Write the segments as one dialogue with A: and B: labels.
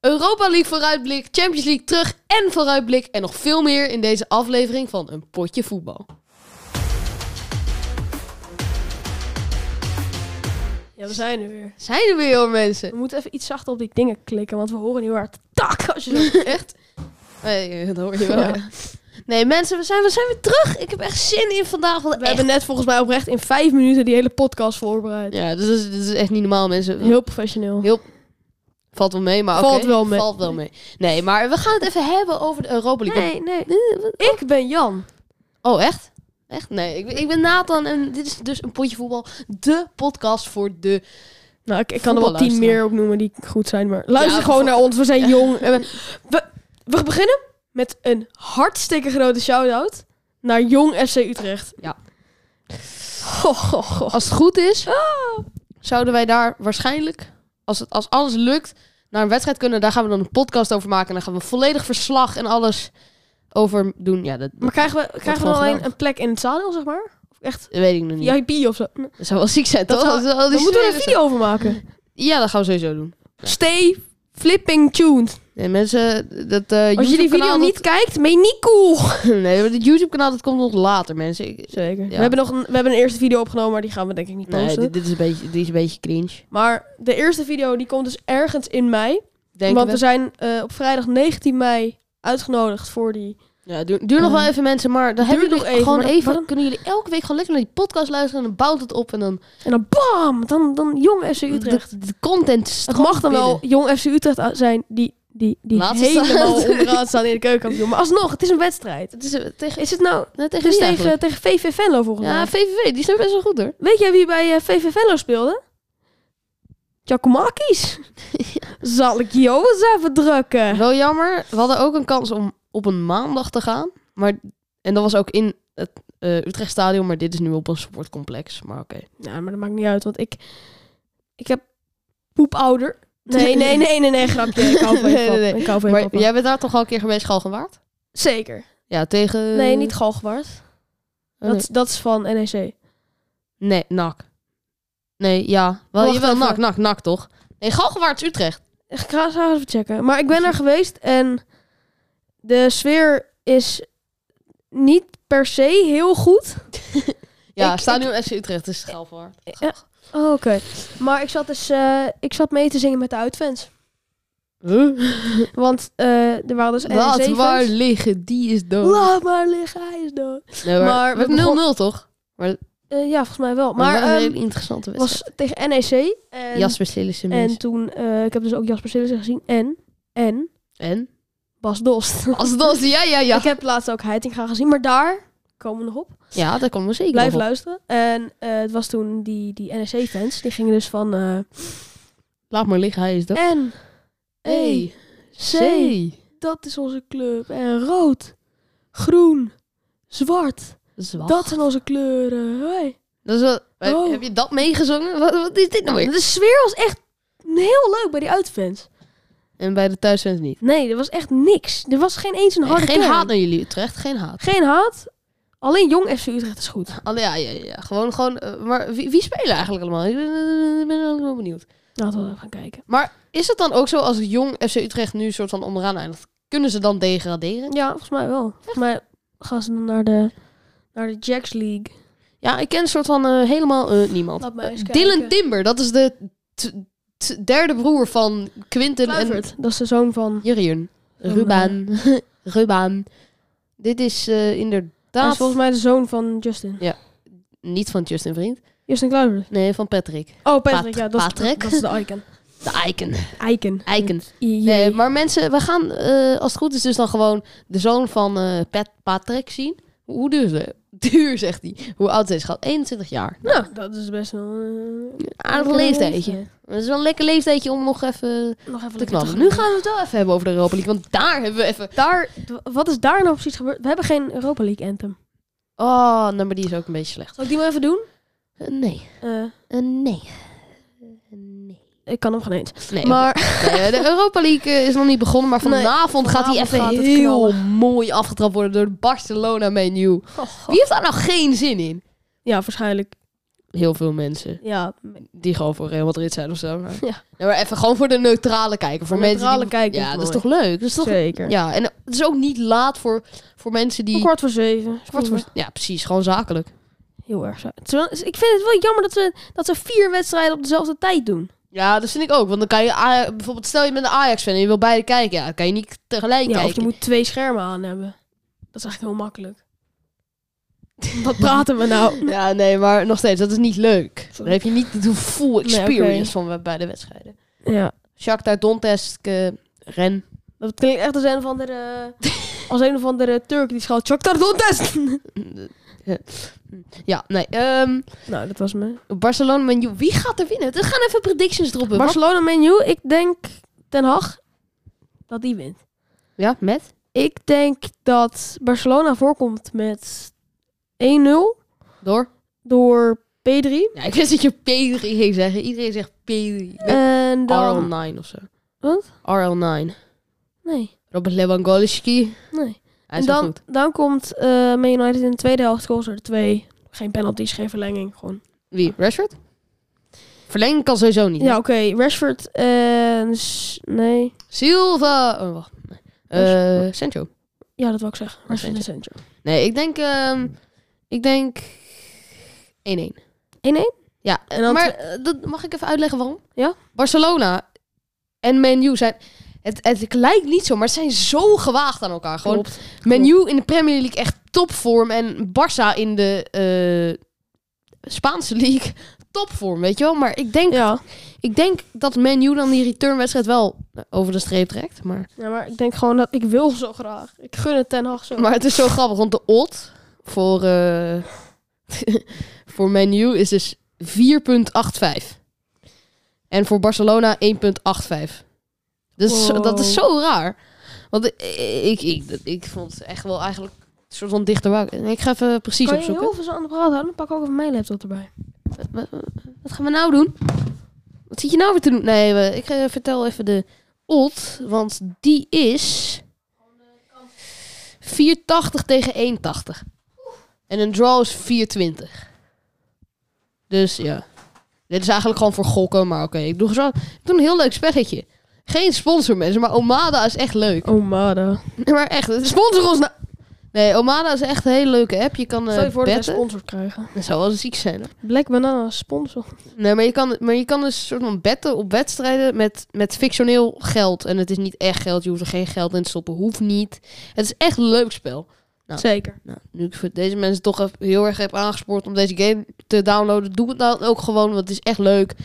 A: Europa League vooruitblik, Champions League terug en vooruitblik. En nog veel meer in deze aflevering van Een Potje Voetbal.
B: Ja, we zijn er weer.
A: Zijn er weer hoor mensen.
B: We moeten even iets zachter op die dingen klikken, want we horen heel hard tak als je zo...
A: Echt? Nee, eh, dat hoor je wel. Nee mensen, we zijn, we zijn weer terug. Ik heb echt zin in vandaag. Want
B: We hebben net volgens mij oprecht in vijf minuten die hele podcast voorbereid.
A: Ja, dus dat is, dat is echt niet normaal mensen.
B: Heel professioneel.
A: Heel- Valt wel mee, maar oké.
B: Valt wel mee.
A: Valt wel mee. Nee, maar we gaan het even hebben over de Europa League.
B: Nee, nee. Ik ben Jan.
A: Oh, echt? Echt? Nee, ik, ben- ik ben Nathan en dit is dus een potje voetbal. De podcast voor de...
B: Nou, ik, ik kan er wel tien
A: Voetballuisteraar.
B: meer opnoemen die goed zijn, maar luister
A: Ja,
B: gewoon
A: vo-
B: naar ons. We zijn jong. En we, we, we beginnen met een hartstikke grote shout-out naar Jong FC Utrecht.
A: Ja.
B: Goh, goh, goh.
A: Als het goed
B: Ah.
A: is, zouden wij daar waarschijnlijk, als, het, als alles lukt, naar een wedstrijd kunnen. Daar gaan we dan een podcast over maken. En dan gaan we volledig verslag en alles over doen. Ja, dat,
B: Maar krijgen we, krijgen we
A: gewoon
B: dan alleen
A: gedaan.
B: een plek in het zadel, zeg maar? Of echt
A: weet ik nog niet.
B: VIP of zo?
A: Dat zou wel ziek zijn,
B: Hm. Dat
A: toch?
B: zou-
A: Als al die
B: Dan moeten we er een Hm.
A: spelers-
B: video over maken.
A: Ja, dat gaan we sowieso doen.
B: Stay flipping tuned.
A: Nee, mensen, dat eh
B: Als je die video
A: YouTube-kanaal,
B: niet kijkt, ben je niet cool.
A: dat- Nee, maar het YouTube-kanaal, dat komt nog later, mensen. Ik-
B: Zeker.
A: Ja.
B: We, hebben nog een, we hebben een eerste video opgenomen, maar die gaan we denk ik niet posten.
A: Nee, dit, dit is een beetje, dit is een beetje cringe.
B: Maar de eerste video die komt dus ergens in mei.
A: Denk
B: want we, zijn eh, op vrijdag 19 mei uitgenodigd voor die...
A: Ja, duur, duur nog
B: Eh,
A: wel even mensen, maar dan
B: duurt
A: hebben jullie
B: nog even,
A: gewoon
B: maar
A: even.
B: waarom-
A: Kunnen jullie elke week gewoon lekker naar die podcast luisteren en dan bouwt het op en dan
B: En dan bam! Dan, dan jong FC Utrecht.
A: de, de content
B: Het
A: stroomt
B: mag dan wel
A: binnen.
B: jong FC Utrecht zijn die, die, die
A: Laatste
B: helemaal
A: staat.
B: onderaan staan in de keukenkampioen. Maar alsnog, het is een wedstrijd.
A: Het is eh, tegen,
B: Is het nou...
A: nou,
B: Het
A: tegen,
B: is
A: wie
B: tegen,
A: eigenlijk?
B: tegen VV Venlo volgens mij.
A: Ja, VVV, die zijn best wel goed hoor.
B: Weet jij wie bij eh, VV Venlo speelde? Giacomakis. Zal ik jou eens even drukken?
A: Wel jammer, we hadden ook een kans om op een maandag te gaan. Maar, en dat was ook in het eh Utrecht Stadion, maar dit is nu op een sportcomplex. Maar oké.
B: Nou, maar dat maakt niet uit, want ik... Ik heb poepouder. Nee, nee, nee, nee, nee, grapje. Ik hou van je
A: Nee,
B: pap.
A: nee, nee.
B: Ik hou van je
A: Maar
B: papa.
A: jij bent daar toch al een keer geweest, Schalgenwaard?
B: Zeker.
A: Ja, tegen...
B: Nee, niet Galgenwaard.
A: Oh,
B: Dat, dat is van E NEC.
A: Nee, nee NAC. Nee, ja. Wel,
B: Wacht
A: jawel,
B: even.
A: NAC, NAC, NAC toch? Nee, Galgenwaard is Utrecht.
B: Ik ga het even checken. Maar ik ben er geweest en de sfeer is niet per se heel goed.
A: Ja,
B: Ik-
A: Stadion SC Utrecht is Galgenwaard.
B: Ja. Oh, Oké. Maar ik zat dus eh, ik zat mee te zingen met de uitfans. Want eh, er waren dus
A: Laat
B: NEC
A: waar
B: fans.
A: liggen, die is dood.
B: Laat maar liggen, hij is dood.
A: Nee,
B: Maar
A: maar
B: we
A: we
B: begon-
A: 0-0 toch?
B: Eh, ja, volgens mij wel.
A: Maar,
B: Maar
A: wel een
B: ehm,
A: hele interessante wedstrijd.
B: was tegen NEC. En,
A: Jasper Sillissen
B: en
A: mis.
B: toen, eh, ik heb dus ook Jasper Sillissen gezien. En, en
A: En?
B: Bas Dost.
A: Als dat ja, ja, ja.
B: Ik heb laatst ook Heitinga gezien, maar daar komen we nog op.
A: Ja, daar komen we zeker
B: Blijf
A: nog op.
B: luisteren. En eh, het was toen die, die NEC-fans, die gingen dus van eh
A: Laat maar liggen, hij is dood.
B: N, E,
A: E, C.
B: dat is onze club. En rood, groen, zwart.
A: Zwacht.
B: Dat zijn onze kleuren. Hoi.
A: Dat is wel- heb-
B: Oh.
A: Heb je dat meegezongen? Wat, wat is dit nou weer?
B: De sfeer was echt heel leuk bij die uitfans.
A: En bij de thuisfans niet.
B: Nee, er was echt niks. Er was geen eens een
A: Nee,
B: harde
A: geen
B: kern.
A: haat naar jullie, Utrecht. Geen haat.
B: Geen haat. Alleen jong FC Utrecht is goed.
A: Alle, ja, ja, ja. Gewoon, gewoon... eh, maar wie, wie spelen eigenlijk allemaal? Ik ben, eh, ben ook wel benieuwd.
B: Laten we even gaan kijken.
A: Is het dan ook zo als jong FC Utrecht nu soort van onderaan eindigt? Kunnen ze dan degraderen?
B: Ja, volgens mij wel. Volgens mij gaan ze dan naar de, naar de Jacks League.
A: Ja, ik ken een soort van eh, helemaal eh, niemand.
B: Laat mij eens
A: Eh,
B: kijken.
A: Dylan Timber, dat is de t- t- derde broer van Quinten en
B: Kluivert, dat is de zoon van...
A: Jurien.
B: Oh,
A: Ruban. Ruban. Dit is eh,
B: Dat
A: inderdaad
B: is volgens mij de zoon van Justin.
A: niet van Justin Vriend.
B: Justin Kluivert.
A: Nee, van Patrick.
B: Oh, Patrick.
A: Pat-
B: ja, dat is,
A: Patrick.
B: dat is de icon.
A: De Icon.
B: Icon.
A: Icon.
B: I-
A: Nee, maar mensen, we gaan eh, als het goed is dus dan gewoon de zoon van eh, Pat Patrick zien. Hoe duur is hij? Duur, zegt hij. Hoe oud is hij? Schat? 21 jaar.
B: Nou, dat is best wel... eh,
A: Aardig
B: lekker
A: leeftijdje. Het is wel een lekker leeftijdje om nog even
B: Nog even
A: te
B: lekker
A: knallen. Nu gaan we het wel even hebben over de Europa League. Want daar hebben we even...
B: Daar, wat is daar nou precies gebeurd? We hebben geen Europa League anthem.
A: Oh, nou, maar die is ook een beetje slecht.
B: Zal ik die maar even doen?
A: Eh, nee. Eh, nee. Eh, nee.
B: ik kan hem gewoon eens.
A: Nee,
B: maar
A: Nee, de Europa League eh, is nog niet begonnen, maar vanavond gaat hij
B: vanavond
A: even
B: gaat het
A: heel
B: knallen.
A: mooi afgetrapt Oh, worden door Barcelona menu. Wie heeft daar nou geen zin in?
B: ja, waarschijnlijk
A: heel veel mensen.
B: Ja,
A: Die gewoon voor Real Madrid zijn of zo. Maar.
B: Ja.
A: Nee, maar even gewoon voor de neutrale kijker. Voor
B: Voor
A: mensen
B: neutrale
A: die...
B: kijker
A: Ja,
B: is
A: dat is
B: mooi.
A: toch leuk? Dat is toch...
B: zeker.
A: Ja, en het is ook niet laat voor, voor mensen die...
B: Om kwart voor zeven.
A: Kwart voor- Ja, precies. Gewoon zakelijk.
B: Heel erg zo. Terwijl- Ik vind het wel jammer dat we, dat we vier wedstrijden op dezelfde tijd doen.
A: Ja, dat vind ik ook. Want dan kan je... Aj- Bijvoorbeeld, stel je bent een Ajax-fan en je wil beide kijken. Ja, dan kan je niet tegelijk
B: Ja, of je
A: kijken.
B: moet twee schermen aan hebben. Dat is eigenlijk heel makkelijk. Wat praten we nou?
A: Ja, nee, maar nog steeds. Dat is niet leuk. Dan
B: Sorry.
A: heb je niet de full
B: oké.
A: experience van beide wedstrijden.
B: Ja,
A: Shakhtar Donetsk, eh, Ren.
B: dat klinkt echt als een of andere, als een of andere Turk die schaalt. Shakhtar Donetsk!
A: Ja, nee. ehm,
B: nou, dat was me.
A: Barcelona, Man U. Wie gaat er winnen? We gaan even predictions droppen.
B: Barcelona menu, ik denk Ten Hag dat die wint.
A: Ja, met?
B: Ik denk dat Barcelona voorkomt met 1-0
A: Door?
B: door P3.
A: Ja, ik wist dat je P3 ging zeggen. Iedereen zegt P3.
B: En dan...
A: RL9 of zo.
B: Wat?
A: RL9.
B: Nee,
A: Robert Lewandowski.
B: nee.
A: Hij
B: en
A: is wel
B: dan,
A: goed.
B: dan komt eh Man United in de tweede helft goals er twee. Geen penalties, geen verlenging. Gewoon.
A: Wie? Rashford? Verlenging kan sowieso niet.
B: Ja, oké. Rashford en... S- nee.
A: Silva. Oh, wacht. Nee. Eh, Sancho.
B: Ja, dat wil ik zeggen. Rashford en Sancho.
A: Nee, ik denk... ehm, ik denk... 1-1.
B: 1-1?
A: Ja,
B: En dan
A: maar eh, dat mag ik even uitleggen waarom?
B: Ja?
A: Barcelona en Man U zijn... Het, het lijkt niet zo, maar het zijn zo gewaagd aan elkaar. Gewoon
B: Klopt.
A: Man U in de Premier League echt topvorm. En Barça in de eh, Spaanse League topvorm, weet je wel. Maar ik denk,
B: Ja.
A: ik denk dat Man U dan die returnwedstrijd wel over de streep trekt. Maar,
B: ja, maar ik denk gewoon dat ik wil zo graag. Ik gun het Ten Hag zo.
A: maar het is zo grappig, want de odd voor, eh voor Man U is dus 4,85. En voor Barcelona 1,85. Dus
B: Wow.
A: dat is zo raar. Want ik, ik, ik, ik vond het echt wel eigenlijk een soort van dichterbij. Ik ga even precies
B: kan je
A: opzoeken.
B: heel veel zo aan de praat houden? Dan pak ik ook even mijn laptop erbij.
A: Wat, wat- wat gaan we nou doen? Wat zit je nou weer te doen? Nee, we- ik eh, vertel even de odd, want die is 480 tegen 81. En een draw is 420. Dus ja. Dit is eigenlijk gewoon voor gokken, maar oké. Ik, doe zo- ik doe een heel leuk spelletje. Geen sponsor mensen, maar Omada is echt leuk.
B: Oh, mada.
A: Nee, maar echt, sponsor ons nou. Nee, Omada is echt een hele leuke app. Je kan eh
B: Stel je voor dat we
A: betten.
B: sponsor krijgen.
A: Dat zou wel eens ziek zijn. Hè?
B: Black Banana sponsor.
A: Nee, maar je kan, maar je kan dus soort van betten op wedstrijden met, met fictioneel geld. En het is niet echt geld. Je hoeft er geen geld in te stoppen. Hoeft niet. Het is echt een leuk spel. Nou.
B: Zeker.
A: Nou, nu ik voor deze mensen toch even heel erg heb aangespoord om deze game te downloaden, doe het dan ook gewoon, want het is echt leuk.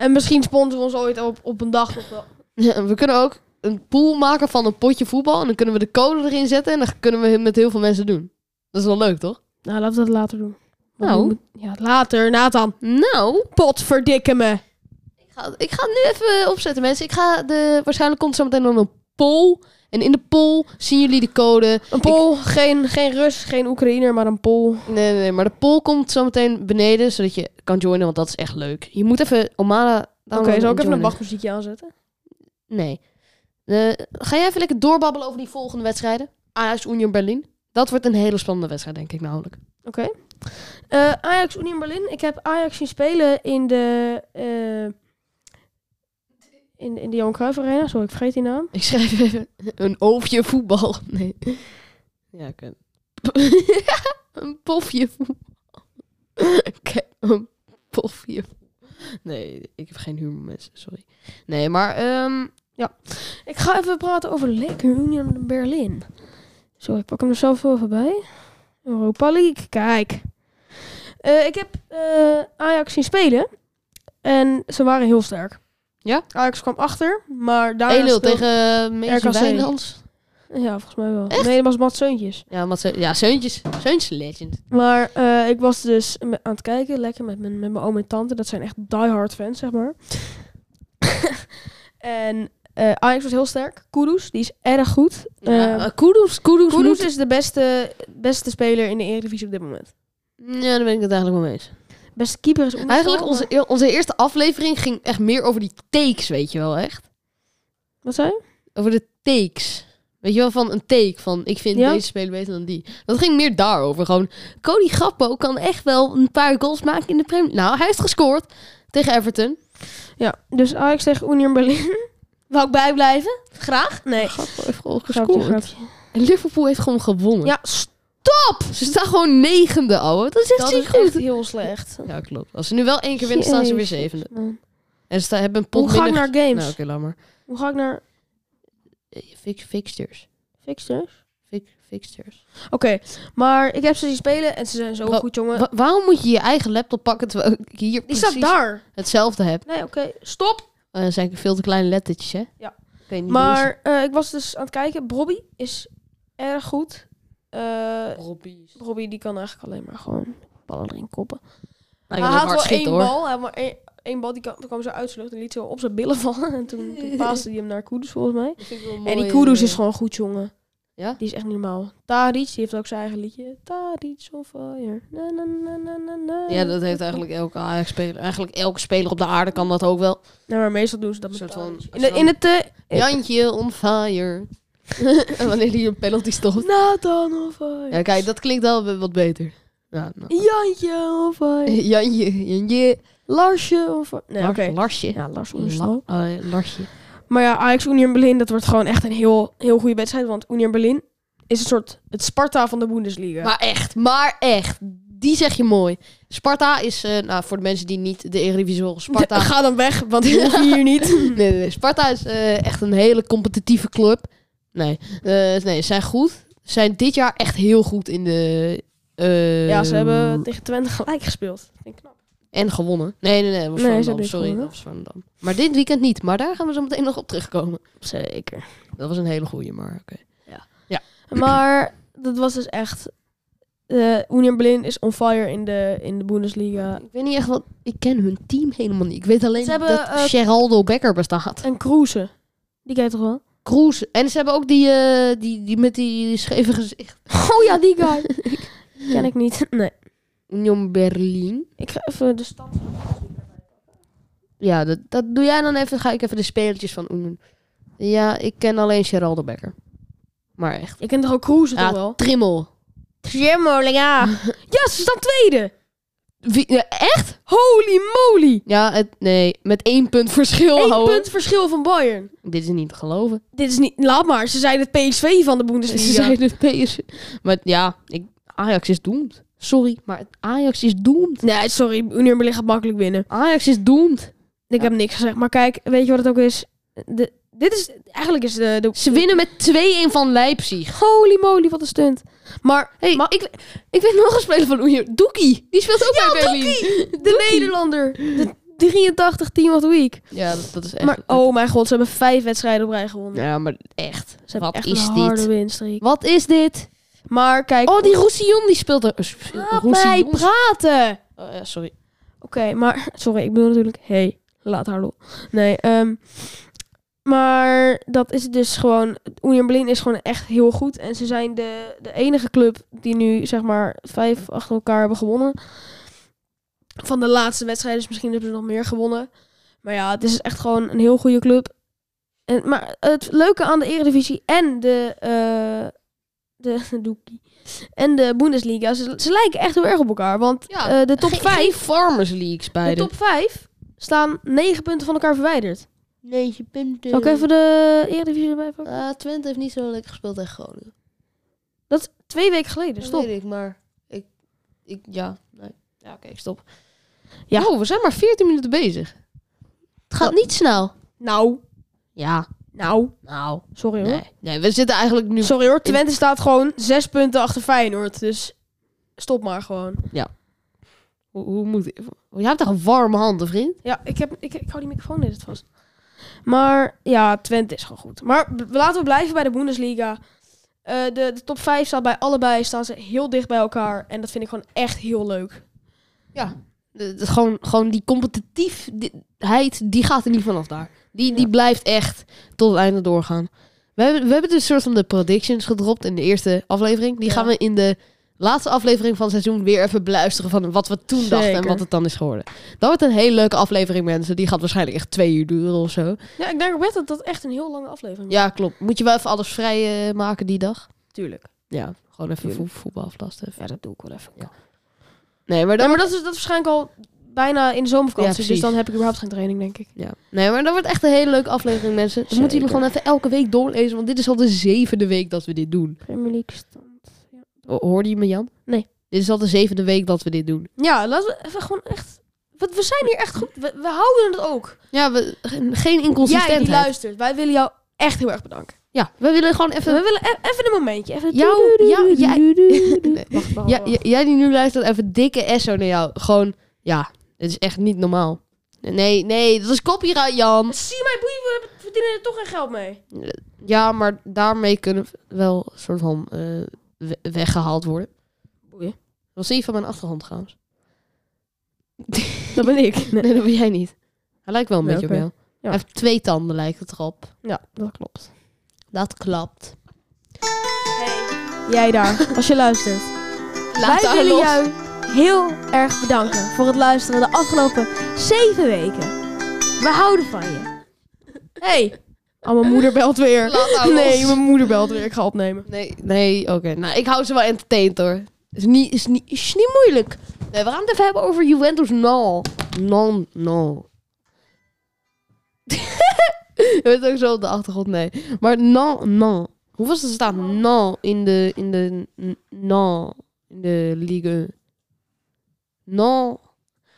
B: En misschien sponsor ons ooit op, op een dag of wel.
A: We kunnen ook een pool maken van een potje voetbal. En dan kunnen we de code erin zetten. En dan kunnen we het met heel veel mensen doen. Dat is wel leuk, toch?
B: Nou, laten we dat later doen. Want
A: Nou.
B: nu moet- Ja, later, Nathan.
A: Nou,
B: Pot verdikken me.
A: Ik ga, ik ga het nu even opzetten, mensen. Ik ga de, waarschijnlijk komt er zo meteen dan een poll. En in de poll zien jullie de code.
B: Een Pool, geen, geen Rus, geen Oekraïner, maar een Pool.
A: Nee, nee, nee, maar de poll komt zo meteen beneden, zodat je kan joinen, want dat is echt leuk. Je moet even Omada...
B: Oké,
A: downloaden en
B: zal ik even een
A: joinen.
B: wachtmuziekje aanzetten?
A: Nee. Eh, ga jij even lekker doorbabbelen over die volgende wedstrijden? Ajax, Union Berlin. Dat wordt een hele spannende wedstrijd, denk ik namelijk.
B: Oké. Eh, Ajax Union Berlin. Ik heb Ajax zien spelen in de... eh in, in de Johan Cruijff Arena. Sorry, ik vergeet die naam.
A: Ik schrijf even een oofje voetbal. Nee. Ja, oké. een pofje voetbal. Oké, een pofje voetbal. Nee, ik heb geen humor, mensen. Sorry. Nee, maar... ehm,
B: Ik ga even praten over Lekker Union Berlin. Zo, ik pak hem er zelf wel even bij. Europa League, kijk. Eh, ik heb eh, Ajax zien spelen. En ze waren heel sterk.
A: Ja?
B: Ajax kwam achter, maar daar
A: 1-0 tegen Meester
B: RKC.
A: Wijnands.
B: Ja, volgens mij wel. Nee, dat was Mats Zeuntjes.
A: Ja, wat ze, ja, Seuntjes. Seuntjes legend.
B: Maar eh, ik was dus me- aan het kijken, lekker met mijn, met mijn oom en tante. Dat zijn echt diehard fans, zeg maar. en eh, Ajax was heel sterk. Kudus, die is erg goed.
A: Ja,
B: Eh,
A: maar Kudus, Kudus,
B: Kudus
A: moet-
B: is de beste, beste speler in de Eredivisie op dit moment.
A: Ja, daar ben ik het eigenlijk wel mee eens.
B: Beste keeper is Oenerstal,
A: Eigenlijk,
B: maar-
A: onze, eer- onze eerste aflevering ging echt meer over die takes, weet je wel, echt.
B: Wat zei je?
A: Over de takes. Weet je wel, van een take van ik vind
B: Ja.
A: deze speler beter dan die. Dat ging meer daarover. Gewoon, Cody Gappo kan echt wel een paar goals maken in de Premier Nou, hij heeft gescoord tegen Everton.
B: Ja, dus Ajax tegen Union Berlin.
A: Wou ik bijblijven? Graag.
B: Nee,
A: Gappo heeft gewoon
B: grapje,
A: gescoord.
B: grapje.
A: En Liverpool heeft gewoon gewonnen.
B: Ja, st-
A: Ze staan gewoon negende, ouwe. Dat is echt
B: dat
A: ziek
B: is
A: goed.
B: echt heel slecht.
A: Ja, klopt. Als ze nu wel één keer winnen, staan ze weer zevende.
B: Man.
A: En ze sta- hebben een pot
B: Hoe ga ik
A: minder-
B: naar games?
A: Nou, oké, laat maar.
B: Hoe ga ik naar
A: Eh, Fix, fixtures.
B: fixtures?
A: Fix, fixtures.
B: Oké, maar ik heb ze zien spelen en ze zijn zo
A: Wa-
B: goed, jongen.
A: Wa- waarom moet je je eigen laptop pakken terwijl ik hier
B: Die
A: precies
B: staat daar.
A: hetzelfde heb?
B: Nee, oké, stop.
A: Eh, dat zijn veel te kleine lettertjes, hè?
B: Ja.
A: Ik weet niet
B: Maar eh, ik was dus aan het kijken. Bobby is erg goed. Eh Robbie die kan eigenlijk alleen maar gewoon ballen erin koppen.
A: Nou, hij
B: hij had
A: hard
B: wel één
A: schieten, hoor.
B: bal, hij had maar één, één bal die kwam, kwam zo uit zijn lucht en liet zo op zijn billen vallen. En toen, toen paaste hij hem naar Kudus volgens mij. En die Kudus is gewoon goed, jongen.
A: eh, Ja?
B: Die is echt niet normaal. Taric, die heeft ook zijn eigen liedje. Taric on fire. Na, na, na, na, na, na.
A: Ja, dat heeft eigenlijk elke Ajax-speler. Eigenlijk elke speler op de aarde kan dat ook wel.
B: Nou, maar meestal doen ze dat
A: Een
B: met
A: soort van-
B: Tadic. In, de- in het... eh,
A: Jantje on fire. en wanneer hij een penalty stopt.
B: Nathan on fire.
A: Ja, kijk, dat klinkt wel wat beter. Ja, nou.
B: Jantje on fire.
A: Jantje, Jantje.
B: Larsje on fire. Nee,
A: Lars-
B: oké.
A: Larsje.
B: Ja, Lars
A: La-
B: Oerstal.
A: eh, Larsje.
B: Maar ja, Ajax Union Berlin, dat wordt gewoon echt een heel, heel goede wedstrijd. Want Union Berlin is een soort het Sparta van de Bundesliga.
A: Maar echt, maar echt. Die zeg je mooi. Sparta is, eh, nou, voor de mensen die niet de Eredivisie horen, Sparta...
B: De- Ga dan weg, want die hoef je hier niet.
A: Nee, nee, nee. Sparta is eh, echt een hele competitieve club. Nee, eh, nee, ze zijn goed. Ze zijn dit jaar echt heel goed in de... eh,
B: Ja, ze hebben tegen Twente gelijk gespeeld. Dat vind ik knap.
A: En gewonnen. Nee, nee, nee. dat Was
B: Nee, ze
A: Volendam,
B: hebben niet
A: sorry,
B: gewonnen.
A: dat was Volendam. Maar dit weekend niet. Maar daar gaan we zo meteen nog op terugkomen.
B: Zeker.
A: Dat was een hele goeie, maar oké.
B: Maar dat was dus echt... eh, Union Berlin is on fire in de, in de Bundesliga.
A: Ik weet niet echt wat... Ik ken hun team helemaal niet. Ik weet alleen
B: Ze hebben,
A: dat
B: eh,
A: Geraldo Becker bestaat.
B: En Kruse. Die ken je toch wel?
A: Kroes. En ze hebben ook die, eh, die, die met die scheve gezicht.
B: Oh ja, die guy. ken ik niet. Nee.
A: Union Berlin.
B: Ik ga even de stand van de Bundesliga.
A: Ja, dat, dat doe jij dan even. Ga ik even de spelertjes van Union. Ja, ik ken alleen Geraldo Becker. Maar echt.
B: Je kent toch ook Kruse
A: Ja,
B: toch wel?
A: Trimmel.
B: Jammer, ja. Ja, ze staan tweede.
A: Wie, ja, echt?
B: Holy moly.
A: Ja, het, nee. Met één punt verschil.
B: Eén
A: houden.
B: punt verschil van Bayern.
A: Dit is niet te geloven.
B: Dit is niet... Laat maar, ze zijn het PSV van de
A: Ze
B: Bundesliga.
A: zijn de PS. Maar ja, ik, Ajax is doemd. Sorry, maar het- Ajax is doemd.
B: Nee, sorry. Union Berlin gaat makkelijk winnen.
A: Ajax is doemd.
B: Ik
A: Ja.
B: heb niks gezegd. Maar kijk, weet je wat het ook is? De, dit is... Eigenlijk is de... de
A: Ze winnen met 2-1 van Leipzig.
B: Holy moly, wat een stunt. Maar...
A: Hey,
B: maar
A: ik, ik weet nog een speler van Union. Doekie. Die speelt ook bij Berlin.
B: de Nederlander. De 83 Team of the Week.
A: Ja, dat, dat is echt.
B: Maar oh mijn god, ze hebben vijf wedstrijden op rij gewonnen.
A: Ja, maar echt.
B: Ze hebben
A: Wat
B: echt
A: is
B: een harde
A: dit?
B: winstreek.
A: Wat is dit?
B: Maar kijk...
A: Oh, die Roussillon die speelt er.
B: Laat mij praten.
A: Oh, ja, sorry.
B: Oké, maar sorry, ik bedoel natuurlijk, hey, laat haar lol. Nee, ehm, maar dat is dus gewoon, Union Berlin is gewoon echt heel goed. En ze zijn de, de enige club die nu, zeg maar, vijf achter elkaar hebben gewonnen. Van de laatste wedstrijden, dus misschien hebben ze nog meer gewonnen. Maar ja, het is echt gewoon een heel goede club. En, maar het leuke aan de Eredivisie en de, eh de doekie, en de Bundesliga, ze, ze lijken echt heel erg op elkaar. Want
A: Ja,
B: eh, de top
A: Geen-
B: 5
A: geen Farmers Leagues bij
B: de top 5 staan 9 punten van elkaar verwijderd.
A: 9 punten. Eh,
B: Zal ik even de Eredivisie erbij pakken?
A: Twente heeft niet zo lekker gespeeld tegen Groningen.
B: Dat is twee weken geleden,
A: Dus
B: stop.
A: ik, maar ik. ik ja, nee. Ja, oké, ik stop.
B: Ja.
A: Ja, we zijn maar 14 minuten bezig. Het gaat niet snel.
B: Nou,
A: Ja,
B: nou,
A: nou.
B: sorry hoor.
A: Nee, nee we zitten eigenlijk nu.
B: Sorry hoor, Twente staat gewoon 6 punten achter Feyenoord, dus stop maar gewoon.
A: Hoe, hoe moet ik. Je hebt toch een warme handen, vriend?
B: Ja, ik, heb, ik, ik hou die microfoon net vast. Maar ja, Twente is gewoon goed. Maar b- laten we blijven bij de Bundesliga. Eh, de, de top 5 staat bij allebei staan ze heel dicht bij elkaar. En dat vind ik gewoon echt heel leuk.
A: Ja. gewoon, gewoon die competitiefheid, die gaat er niet vanaf daar. Die, die blijft echt tot het einde doorgaan. We hebben, we hebben dus een soort van de predictions gedropt in de eerste aflevering. Die
B: Ja.
A: gaan we in de laatste aflevering van het seizoen weer even beluisteren van wat we toen dachten en
B: Zeker.
A: wat het dan is geworden. Dat wordt een hele leuke aflevering, mensen. Die gaat waarschijnlijk echt twee uur duren of zo.
B: Ja, ik denk best dat dat echt een heel lange aflevering
A: Ja, klopt. Moet je wel even alles vrij eh, maken die dag?
B: is. Tuurlijk.
A: Ja, gewoon even
B: Tuurlijk.
A: vo- voetbal aflasten. even.
B: Ja, dat doe ik wel even.
A: Ja. Nee, maar
B: Ja,
A: dat...
B: maar dat is, dat is waarschijnlijk al bijna in de
A: Ja,
B: zomervakantie.
A: precies.
B: dus dan heb ik überhaupt geen training, denk ik.
A: Ja. Nee, maar dat wordt echt een hele leuke aflevering, mensen. Dan moeten jullie
B: Zeker.
A: gewoon even elke week doorlezen, want dit is al de zevende week dat we dit doen.
B: Premier League stand.
A: Ho- Hoorde je me, Jan?
B: Nee.
A: Dit is al de zevende week dat we dit doen.
B: Ja, laten we even gewoon echt... Want we zijn hier echt goed. We, we houden het ook.
A: Ja, we, geen- geen
B: Jij die
A: inconsistentheid.
B: luistert. Wij willen jou echt heel erg bedanken.
A: Ja, we willen gewoon even...
B: we willen e- even een momentje. Even
A: Jou- jou- jij-
B: Nee, wacht, wacht,
A: Ja,
B: wacht.
A: j- jij die nu luistert, even dikke esso naar jou. Gewoon, ja, het is echt niet normaal. Nee, nee, dat is copyright, Jan.
B: Zie mij boeien, we hebben- verdienen er toch geen geld mee.
A: Ja, maar daarmee kunnen we wel een soort van eh, we- weggehaald worden.
B: Boeien.
A: Wat zie je van mijn achtergrond trouwens?
B: Dat ben ik.
A: Nee, dat ben jij niet. Hij lijkt wel een
B: Nee,
A: beetje
B: oké.
A: op jou.
B: Ja.
A: Hij heeft twee tanden, lijkt het erop.
B: Ja, dat klopt.
A: Dat klopt.
B: Jij daar, als je luistert.
A: Laat
B: Wij
A: haar
B: willen
A: los.
B: jou heel erg bedanken voor het luisteren de afgelopen zeven weken. We houden van je. Hey. Oh, mijn moeder belt weer.
A: Laat haar
B: Nee,
A: los.
B: mijn moeder belt weer. Ik ga opnemen.
A: Nee, nee oké. Nou, ik hou ze wel entertained hoor. Is niet, is niet, is niet moeilijk. Nee, we gaan het even hebben over Juventus. No. No, no. Je bent ook zo op de achtergrond, nee. Maar no, no. Hoe was het staan? No in de, in de, no. In de ligue. No.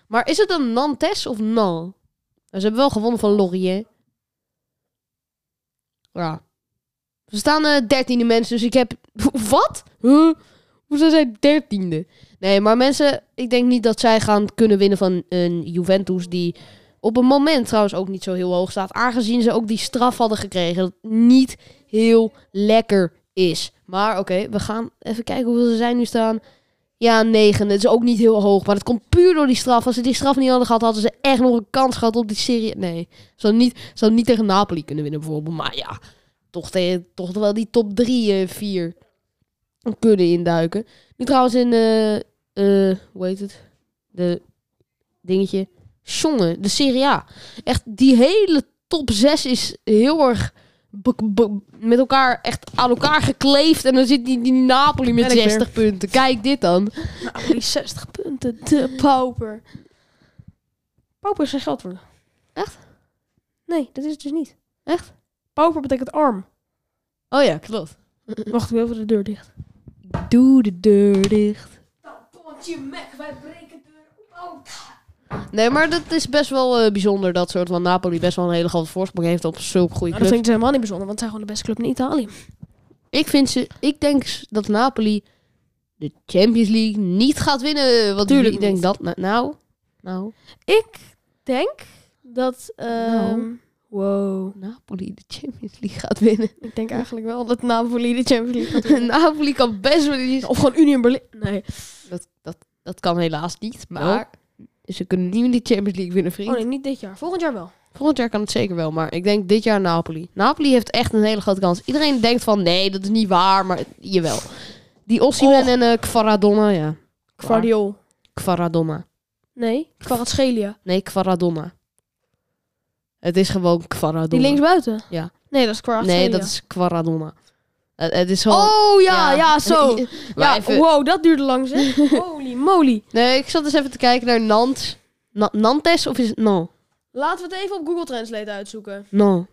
A: Maar is het een Nantes of no? Nou, Ze hebben wel gewonnen van Laurier. Ja. Ze staan eh dertiende mensen, dus ik heb... Wat? Huh? Hoezo zijn dertiende? Nee, maar mensen, ik denk niet dat zij gaan kunnen winnen van een Juventus die op een moment trouwens ook niet zo heel hoog staat. Aangezien ze ook die straf hadden gekregen, dat niet heel lekker is. Maar oké, we gaan even kijken hoeveel ze zijn nu staan. Ja, negen. Het is ook niet heel hoog, maar dat komt puur door die straf. Als ze die straf niet hadden gehad, hadden ze echt nog een kans gehad op die serie. Nee, ze hadden niet, ze hadden niet tegen Napoli kunnen winnen bijvoorbeeld. Maar ja, toch, tegen, toch wel die top 3, 4 kunnen induiken. Nu trouwens in, eh, eh, hoe heet het? De dingetje. Jongen, de Serie A. Echt, die hele top 6 is heel erg be- be- met elkaar echt aan elkaar gekleefd. En dan zit die, die Napoli met
B: Ben ik weer.
A: 60 punten. Kijk dit dan.
B: Nou, die 60 punten. De pauper. Pauper is geen geld worden.
A: Echt?
B: Nee, dat is het dus niet.
A: Echt?
B: Pauper betekent arm.
A: Oh ja, klopt.
B: Wacht, ik wil even de deur dicht. Nou,
A: Doe de deur dicht.
B: Pontje Mac, wij breken deur op. Oh,
A: Nee, maar dat is best wel eh, bijzonder dat soort van Napoli best wel een hele grote voorsprong heeft op zulke goede
B: Nou, dat
A: clubs.
B: vind ik dus helemaal niet bijzonder, want het zijn gewoon de beste club in Italië.
A: Ik vind ze. Ik denk s- dat Napoli de Champions League niet gaat winnen. Want
B: Tuurlijk
A: ik denk
B: niet.
A: dat nou- nou. Nou,
B: Ik denk dat... ehm,
A: Nou.
B: Wow.
A: Napoli de Champions League gaat winnen.
B: Ik denk eigenlijk wel dat Napoli de Champions League gaat winnen.
A: Napoli kan best wel iets.
B: Of gewoon Union Berlin. Nee.
A: Dat, dat, dat kan helaas niet. Maar ze kunnen niet meer de Champions League winnen, vriend.
B: Oh nee, niet dit jaar. Volgend jaar wel.
A: Volgend jaar kan het zeker wel. Maar ik denk dit jaar Napoli. Napoli heeft echt een hele grote kans. Iedereen denkt van nee, dat is niet waar. Maar jawel. Die Ossiman
B: Och.
A: en eh Kvaradonna, ja.
B: Guardiol.
A: Kvaradonna.
B: Nee. Kvaratschelia.
A: Nee, Kvaradonna. Het is gewoon Kvaradonna.
B: Die linksbuiten?
A: Ja.
B: Nee, dat is Kvaratschelia.
A: Nee, dat is Quaradonna. Het, het is gewoon...
B: Oh ja, ja, zo.
A: Maar
B: Ja, oh.
A: even-
B: wow, dat duurde lang zeg. Holy moly.
A: Nee, ik zat eens even te kijken naar Nant. Na- Nantes of is het... No.
B: Laten we het even op Google Translate uitzoeken.
A: No.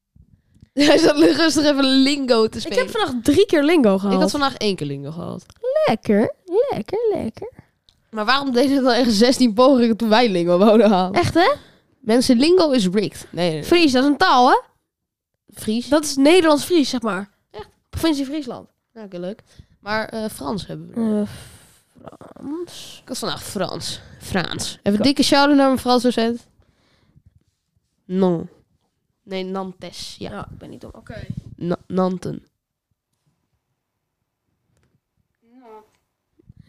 A: Hij zat rustig even lingo te
B: Ik
A: spelen.
B: heb vandaag drie keer lingo gehad.
A: Ik had vandaag één keer lingo gehad.
B: Lekker, lekker, lekker.
A: Maar waarom deden we dan echt 16 pogingen toen wij lingo wouden halen?
B: Echt hè?
A: Mensen, lingo is rigged. Nee, nee, nee.
B: Fries, dat is een taal hè?
A: Fries.
B: Dat is Nederlands-Fries, zeg maar.
A: Echt?
B: Provincie Friesland.
A: Nou, oké, leuk. Maar eh, Frans hebben we.
B: Oh. Frans.
A: Ik had vandaag Frans. Frans. Even een dikke shout-out naar mijn Frans docent. No. Nee, Nantes. Ja.
B: Ja. ik ben niet dom. Oké.
A: Na- Nanten.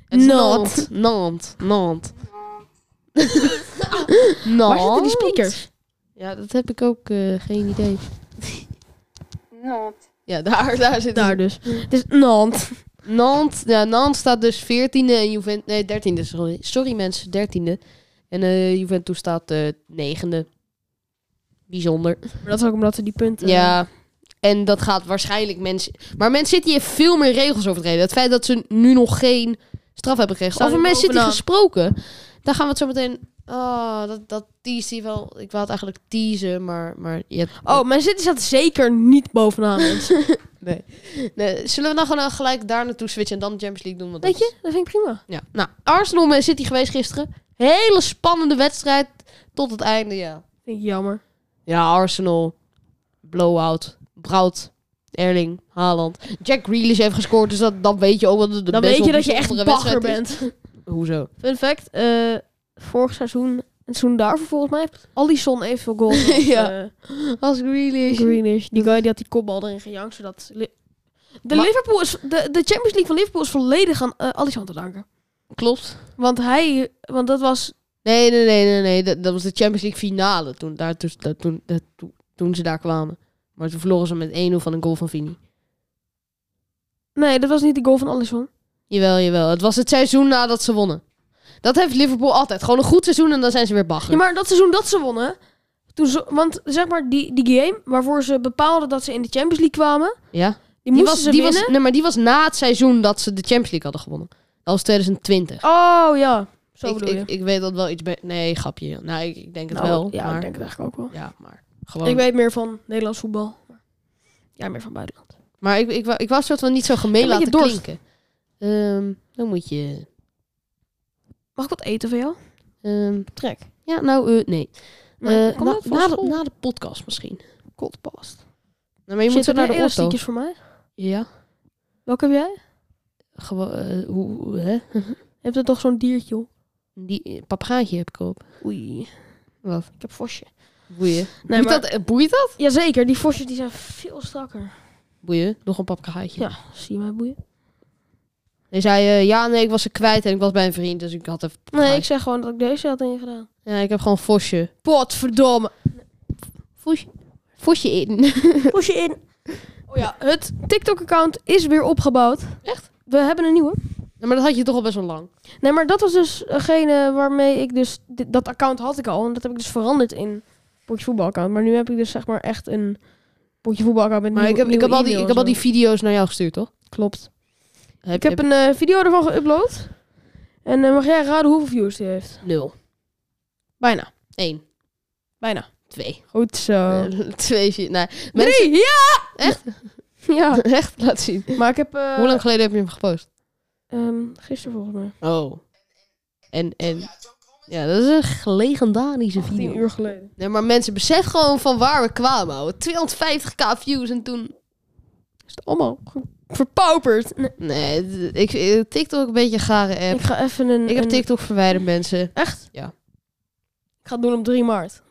A: Het is
B: Nant.
A: Nant. Nant. Nant.
B: Waar zitten
A: Nant.
B: die speakers?
A: Ja, dat heb ik ook eh, geen idee. Nant. Ja, daar, daar zit
B: Daar dus. Het is Nant.
A: Nantes, ja, Nantes staat dus 14e en Juventus... Nee, 13e, sorry. Sorry mensen, 13e. En eh, Juventus staat eh 9e. Bijzonder.
B: Maar dat is ook omdat ze die punten...
A: Ja, en dat gaat waarschijnlijk mensen... Maar Man City heeft veel meer regels overtreden. Het feit dat ze nu nog geen straf hebben gekregen.
B: Staan
A: Over
B: nu
A: Man City
B: bovenaan.
A: gesproken, daar gaan we het zo meteen... Oh, dat, dat tease die wel... Ik wou het eigenlijk teasen, maar... maar je hebt-
B: Oh, Man City staat zeker niet bovenaan, mensen.
A: Nee. nee. Zullen we dan gewoon eh, gelijk daar naartoe switchen en dan de Champions League doen? Want
B: Weet
A: dat
B: je, dat vind ik prima.
A: is- Ja. Nou, Arsenal Man City geweest gisteren. Hele spannende wedstrijd tot het einde, ja.
B: Vind ik jammer.
A: Ja, Arsenal. Blowout. Braut. Erling. Haaland. Jack Grealish heeft gescoord, dus dat, dan weet je ook dat het de
B: Dan
A: best
B: weet je
A: wel
B: dat je echt
A: bijzondere
B: bagger
A: wedstrijd
B: bent.
A: is. Hoezo?
B: Fun fact, eh, vorig seizoen, het seizoen daarvoor volgens mij, heeft Alisson evenveel goals als
A: Ja.
B: ja.
A: Als Grealish.
B: Greenish. Die guy die had die kopbal erin gejankt, zodat... Li- de,
A: Maar-
B: Liverpool is, de, de Champions League van Liverpool is volledig aan eh, Alisson te danken.
A: Klopt.
B: Want hij, want dat was...
A: Nee, nee, nee, nee, nee. Dat, dat was de Champions League finale toen, daar, toen, daar- toen, daar- toen, toen ze daar kwamen. Maar toen verloren ze met 1-0 van een goal van Vini.
B: Nee, dat was niet de goal van Alisson.
A: Jawel, jawel. Het was het seizoen nadat ze wonnen. Dat heeft Liverpool altijd. Gewoon een goed seizoen en dan zijn ze weer bagger.
B: Ja, maar dat seizoen dat ze wonnen, toen ze, want zeg maar die, die game waarvoor ze bepaalden dat ze in de Champions League kwamen,
A: ja?
B: die, moesten ze
A: die
B: winnen.
A: was, nee, maar die was na het seizoen dat ze de Champions League hadden gewonnen. Dat was 2020.
B: Oh ja, zo
A: ik,
B: bedoel je.
A: ik, ik weet dat wel iets be- Nee, grapje. Nou, ik, ik denk het
B: Nou,
A: wel.
B: Ja,
A: maar, Oh.
B: ik denk het eigenlijk ook wel.
A: Ja, maar gewoon.
B: Ik weet meer van Nederlands voetbal. Ja, meer van buitenland.
A: Maar ik, ik, wou- ik was soort van niet zo gemeen
B: Een beetje
A: laten
B: dorst.
A: klinken. Ehm, dan moet je...
B: Mag ik wat eten van jou?
A: ehm,
B: Trek.
A: ja, nou, eh, nee. Eh, na,
B: nou
A: na, de, na de podcast misschien.
B: Coldpast.
A: Nou, maar je moet zo naar de auto.
B: elastiekjes voor mij?
A: Ja,
B: Welke heb jij?
A: gewoon... eh, hoe, hoe- hè?
B: Je hebt er toch zo'n diertje? joh?
A: Die eh, papegaaitje heb ik op.
B: Oei,
A: Wat?
B: ik heb vosje.
A: Boeien.
B: Nee,
A: boeit,
B: maar-
A: dat, eh, boeit dat?
B: Jazeker, die vosjes die zijn veel strakker.
A: Boeien. Nog een papegaaitje.
B: Ja, zie je mij boeien?
A: Hij zei, eh, ja, nee, ik was ze kwijt en ik was bij een vriend, dus ik had even...
B: Nee, ik zeg gewoon dat ik deze had ingedaan.
A: Ja, ik heb gewoon vosje.
B: Potverdomme.
A: Vosje, vosje in.
B: Vosje in. Oh ja, het TikTok-account is weer opgebouwd.
A: Echt?
B: We hebben een nieuwe.
A: Ja, Nou, maar dat had je toch al best wel lang.
B: Nee, maar dat was dus degene waarmee ik dus... dit- dat account had ik al en dat heb ik dus veranderd in potje voetbalaccount. Maar nu heb ik dus zeg maar echt een potje voetbalaccount met
A: Maar ik heb, ik, heb al die, ik heb al die video's naar jou gestuurd, toch?
B: Klopt.
A: Heb,
B: Ik heb een eh, video ervan geüpload. En eh, mag jij raden hoeveel views die heeft?
A: nul.
B: Bijna.
A: Eén.
B: Bijna.
A: Twee.
B: Goed zo.
A: Eh, twee, vier. Nee. Mensen,
B: Drie! Ja!
A: Echt?
B: Ja.
A: echt laat zien.
B: Maar ik heb... eh,
A: Hoe lang geleden heb je hem gepost?
B: ehm, gisteren volgens mij.
A: Oh. En, en... Ja, dat is een g- legendarische
B: 10
A: video.
B: uur geleden.
A: Nee, maar mensen, besef gewoon van waar we kwamen, ouwe. 250k views en toen...
B: Is het allemaal ge- verpauperd? Nee,
A: Nee, d- ik eh, TikTok een beetje gare app.
B: ik ga even een...
A: Ik heb
B: een-
A: TikTok verwijderd, mensen.
B: Echt?
A: Ja.
B: Ik ga het doen op 3 maart.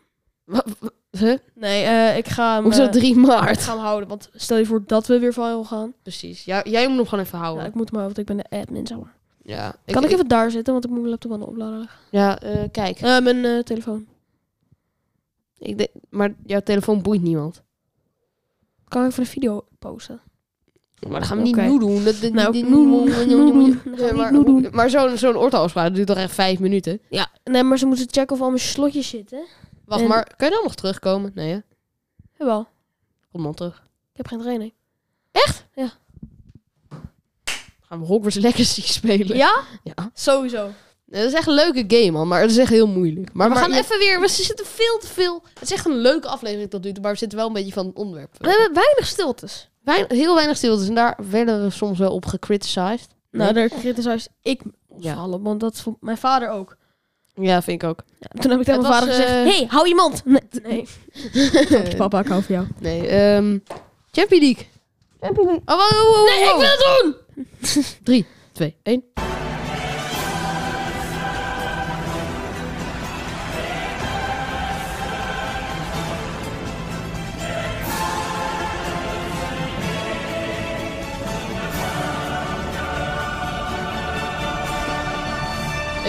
A: Huh?
B: Nee, eh, ik ga hem...
A: Hoezo
B: eh,
A: 3
B: Ik
A: maart?
B: ga hem houden, want stel je voor dat we weer viral gaan.
A: Precies. Ja, jij moet hem gewoon even
B: Ja,
A: houden.
B: ik moet hem houden, want ik ben de admin, zeg maar.
A: Ja.
B: kan Oh. ik even daar zitten, want ik moet mijn laptop aan de oplader leggen.
A: Ja, eh, kijk.
B: Eh, mijn eh, telefoon.
A: Ik denk- maar jouw telefoon boeit niemand.
B: Kan ik even een video posten?
A: Maar dat gaan we niet
B: Oké.
A: nu doen. Dat, dat,
B: Nou,
A: dit-
B: ook nu doen,
A: Nee,
B: nu doen. Dat gaan we
A: maar-
B: niet nu doen.
A: Maar zo'n zo'n ortoafspraak duurt toch echt vijf minuten?
B: Ja, nee, maar ze moeten checken of al mijn slotjes zitten.
A: Wacht,
B: En-
A: maar kan je dan nog terugkomen? Nee, hè?
B: Jawel,
A: Kom dan terug.
B: ik heb geen training.
A: Gaan we Hogwarts Legacy spelen?
B: Ja?
A: Ja.
B: Sowieso.
A: Nee, dat is echt een leuke game, man. Maar het is echt heel moeilijk. Maar
B: Ja,
A: we
B: maar
A: gaan
B: je-
A: even weer... We zitten veel te veel... Het is echt een leuke aflevering tot nu toe. Maar we zitten wel een beetje van het onderwerp.
B: We hebben weinig stiltes.
A: Wein- heel weinig stiltes. En daar werden we soms wel op gecriticized.
B: Nou, daar criticiseer ik ons
A: Ja.
B: allen, want dat vond mijn vader ook.
A: Ja, vind ik ook.
B: Ja, toen heb ik tegen
A: Het
B: mijn vader
A: was,
B: gezegd,
A: eh,
B: hey, hou je mond! Nee, nee. Grapje, papa, ik hou van jou.
A: Nee, ehm Champions League. Oh, wow, wow, wow,
B: Nee, ik wil het doen!
A: 3, 2, 1.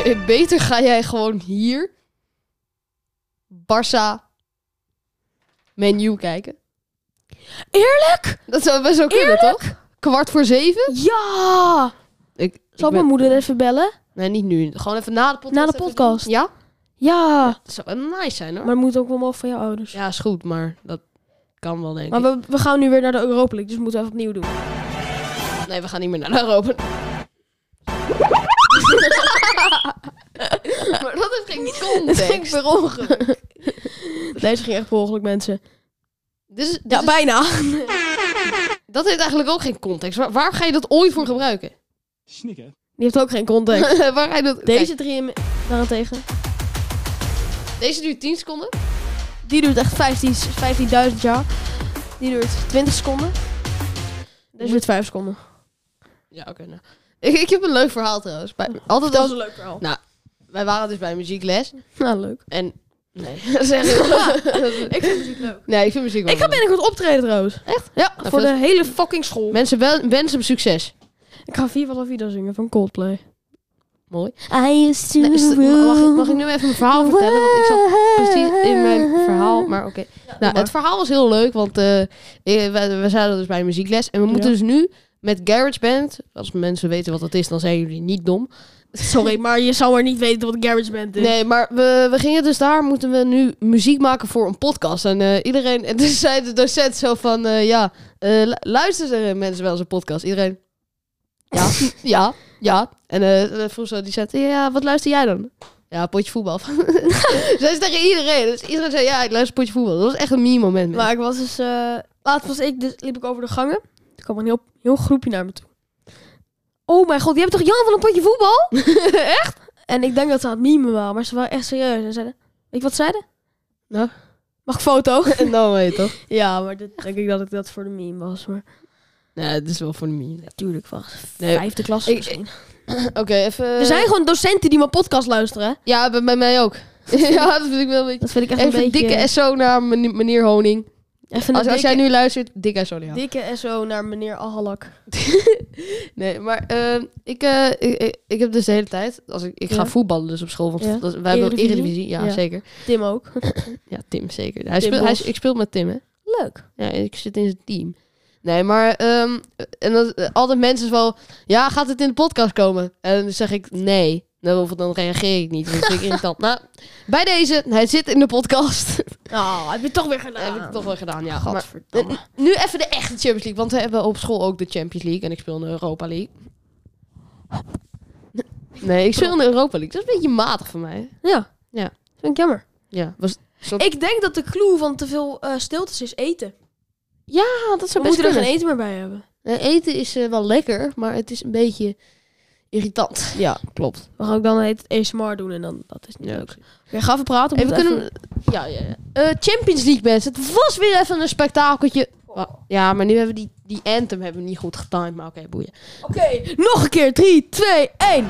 A: Eh, Beter ga jij gewoon hier Barça menu kijken.
B: Eerlijk?
A: Dat zou best wel kunnen,
B: Eerlijk?
A: toch? kwart voor zeven.
B: Ja!
A: Ik, ik
B: Zal
A: ben-
B: mijn moeder even bellen?
A: Nee, niet nu. Gewoon even na de podcast.
B: Na de
A: even doen.
B: podcast.
A: Ja?
B: Ja.
A: Dat zou wel nice zijn hoor.
B: Maar het moet ook wel mogen van je ouders.
A: Ja, is goed, maar dat kan wel denk
B: Maar
A: ik.
B: we, we gaan nu weer naar de Europa League, dus we moeten even opnieuw doen.
A: Nee, we gaan niet meer naar Europa. maar dat is geen
B: Het
A: context.
B: ging per ongeluk. Deze ging echt per ongeluk, mensen.
A: Dit is, dit
B: Ja,
A: is-
B: bijna.
A: Dus, dat heeft eigenlijk ook geen context. Waar, waar ga je dat ooit voor gebruiken?
C: Snikken.
B: Die heeft ook geen context.
A: waar ga je dat...
B: Deze drie in- daarentegen.
A: Kijk, deze duurt 10 seconden.
B: Die duurt echt 15 15.000 jaar. Die duurt 20 seconden. Deze duurt 5 seconden.
A: Ja, oké. nou. ik, ik heb een leuk verhaal trouwens. Bij, altijd als,
B: een leuk verhaal.
A: wij waren dus bij muziekles.
B: Nou, leuk.
A: En... Nee, zeg ik.
B: Ik vind muziek leuk. Nou,
A: Nee, ik vind muziek wel
B: Ik ga
A: leuk.
B: binnenkort optreden trouwens.
A: Echt? Ja.
B: voor de hele fucking school.
A: Mensen, wel, wensen hem succes.
B: Ik ga Viva La Vida zingen van Coldplay.
A: Mooi.
B: I used to
A: Nee, is- mag, ik, mag ik nu even mijn verhaal vertellen? Want ik zat precies in mijn verhaal. Maar oké. nou,
B: maar.
A: het verhaal was heel leuk, want eh, eh, we, we zaten dus bij een muziekles. En we moeten
B: Ja.
A: dus nu met GarageBand... Als mensen weten wat dat is, dan zijn jullie niet dom.
B: Sorry, maar je zal maar niet weten wat GarageBand is.
A: Nee, maar we, we gingen dus daar, moeten we nu muziek maken voor een podcast. En eh, iedereen... En toen zei de docent zo van, eh, ja, eh luisteren mensen wel eens een podcast? Iedereen... Ja, ja, ja. En eh vroeg zo, die zei, ja, wat luister jij dan? Ja, potje voetbal. Zij is tegen iedereen. Dus iedereen zei, ja, ik luister potje voetbal. Dat was echt een meme-moment.
B: Maar ik was dus... eh, laatst was ik, dus liep ik over de gangen. Toen kwam een heel, heel groepje naar me toe. Oh mijn god, je hebt toch Jan van een potje voetbal? echt? En ik denk dat ze aan het mimen waren, maar ze waren echt serieus. En zeiden... Weet je wat ze zeiden?
A: Nou?
B: Mag ik foto?
A: nou weet toch?
B: ja, maar dit, denk ik dat ik dat voor de meme was. Maar
A: Nee, het is wel voor de meme.
B: natuurlijk was
A: Nee.
B: vijfde klas
A: Ik-
B: misschien.
A: Oké, even...
B: eh, er zijn gewoon docenten die mijn podcast luisteren. hè?
A: Ja, bij, bij mij ook. ja, dat vind ik wel een beetje...
B: Dat vind ik echt
A: Even
B: een beetje...
A: dikke SO naar meneer meneer Honing.
B: even
A: Als,
B: een
A: als
B: dikke,
A: jij nu luistert, dikke SO naar jou.
B: dikke SO naar meneer Ahalak.
A: Nee, maar ehm, ik, eh, ik, ik, ik heb dus de hele tijd... Als ik, ik ga
B: Ja.
A: voetballen dus op school, want
B: Ja.
A: dat, wij hebben
B: Eredivisie?
A: Eredivisie. Ja,
B: Ja.
A: zeker.
B: Tim ook.
A: Ja, Tim zeker. Hij
B: Tim
A: speelt, hij,
B: Bos.
A: ik speel met Tim, hè.
B: Leuk.
A: Ja, ik zit in zijn team. Nee, maar ehm, en dat, eh, altijd mensen is wel... Ja, gaat het in de podcast komen? En dan zeg ik nee. Nou, of dan reageer ik niet. want Dat vind ik irritant. Nou, bij deze, hij zit in de podcast.
B: Oh, heb je toch weer
A: Dat
B: gedaan.
A: heb ik toch wel gedaan, ja. Maar,
B: Gadverdamme.
A: nu even de echte Champions League. Want we hebben op school ook de Champions League. En ik speel in de Europa League. Nee, ik speel in de Europa League. Dat is een beetje matig van mij.
B: ja.
A: Ja.
B: Vind ik jammer.
A: Ja, was, soort-
B: Ik denk dat de clue van te veel eh, stiltes is eten.
A: ja Ah, dat
B: We
A: zou best
B: moeten er geen
A: kunnen.
B: eten meer bij hebben.
A: Eh, Eten is eh, wel lekker, maar het is een beetje irritant.
B: Ja.
A: Klopt.
B: We gaan ook dan het ASMR doen en dan dat is niet
A: Ja,
B: leuk. Oké, ga even praten.
A: Hey,
B: we
A: we
B: moeten
A: kunnen...
B: even-
A: Ja, ja, ja. Eh, Champions League, mensen. Het was weer even een spektakeltje. Wa- Ja, maar nu hebben we die, die anthem hebben we niet goed getimed. Maar oké, boeien.
B: Oké, nog een keer. 3, 2, 1.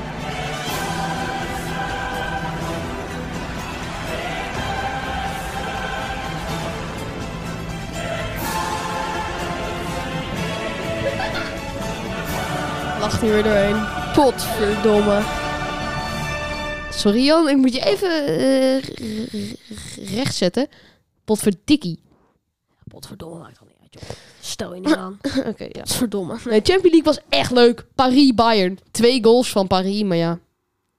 B: Lacht hier weer doorheen. Potverdomme.
A: Sorry Jan, ik moet je even eh, r- r- r- rechtzetten. Potverdikkie.
B: Potverdomme maakt al niet uit, joh. Stel je niet aan.
A: oké, ja.
B: Potverdomme.
A: Nee, Champions League was echt leuk. Paris-Bayern. Twee goals van Paris, maar ja.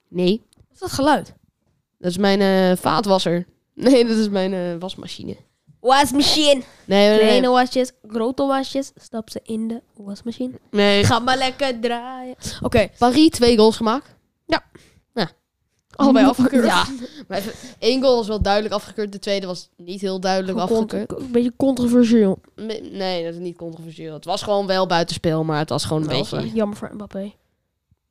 A: Nee,
B: Wat is dat geluid?
A: dat is mijn eh, vaatwasser. Nee, dat is mijn eh, wasmachine.
B: Wasmachine.
A: Nee, Eh, nee, nee.
B: Kleine wasjes, grote wasjes. Stap ze in de wasmachine.
A: nee.
B: Ga maar lekker draaien. Oké.
A: Paris, twee goals gemaakt.
B: Ja.
A: Ja.
B: Allebei afgekeurd.
A: Mm. Ja. Maar even, één goal was wel duidelijk afgekeurd. De tweede was niet heel duidelijk afgekeurd.
B: Een beetje controversieel.
A: Me- Nee, dat is niet controversieel. Het was gewoon wel buitenspel, maar het was gewoon een beetje...
B: Jammer voor Mbappé.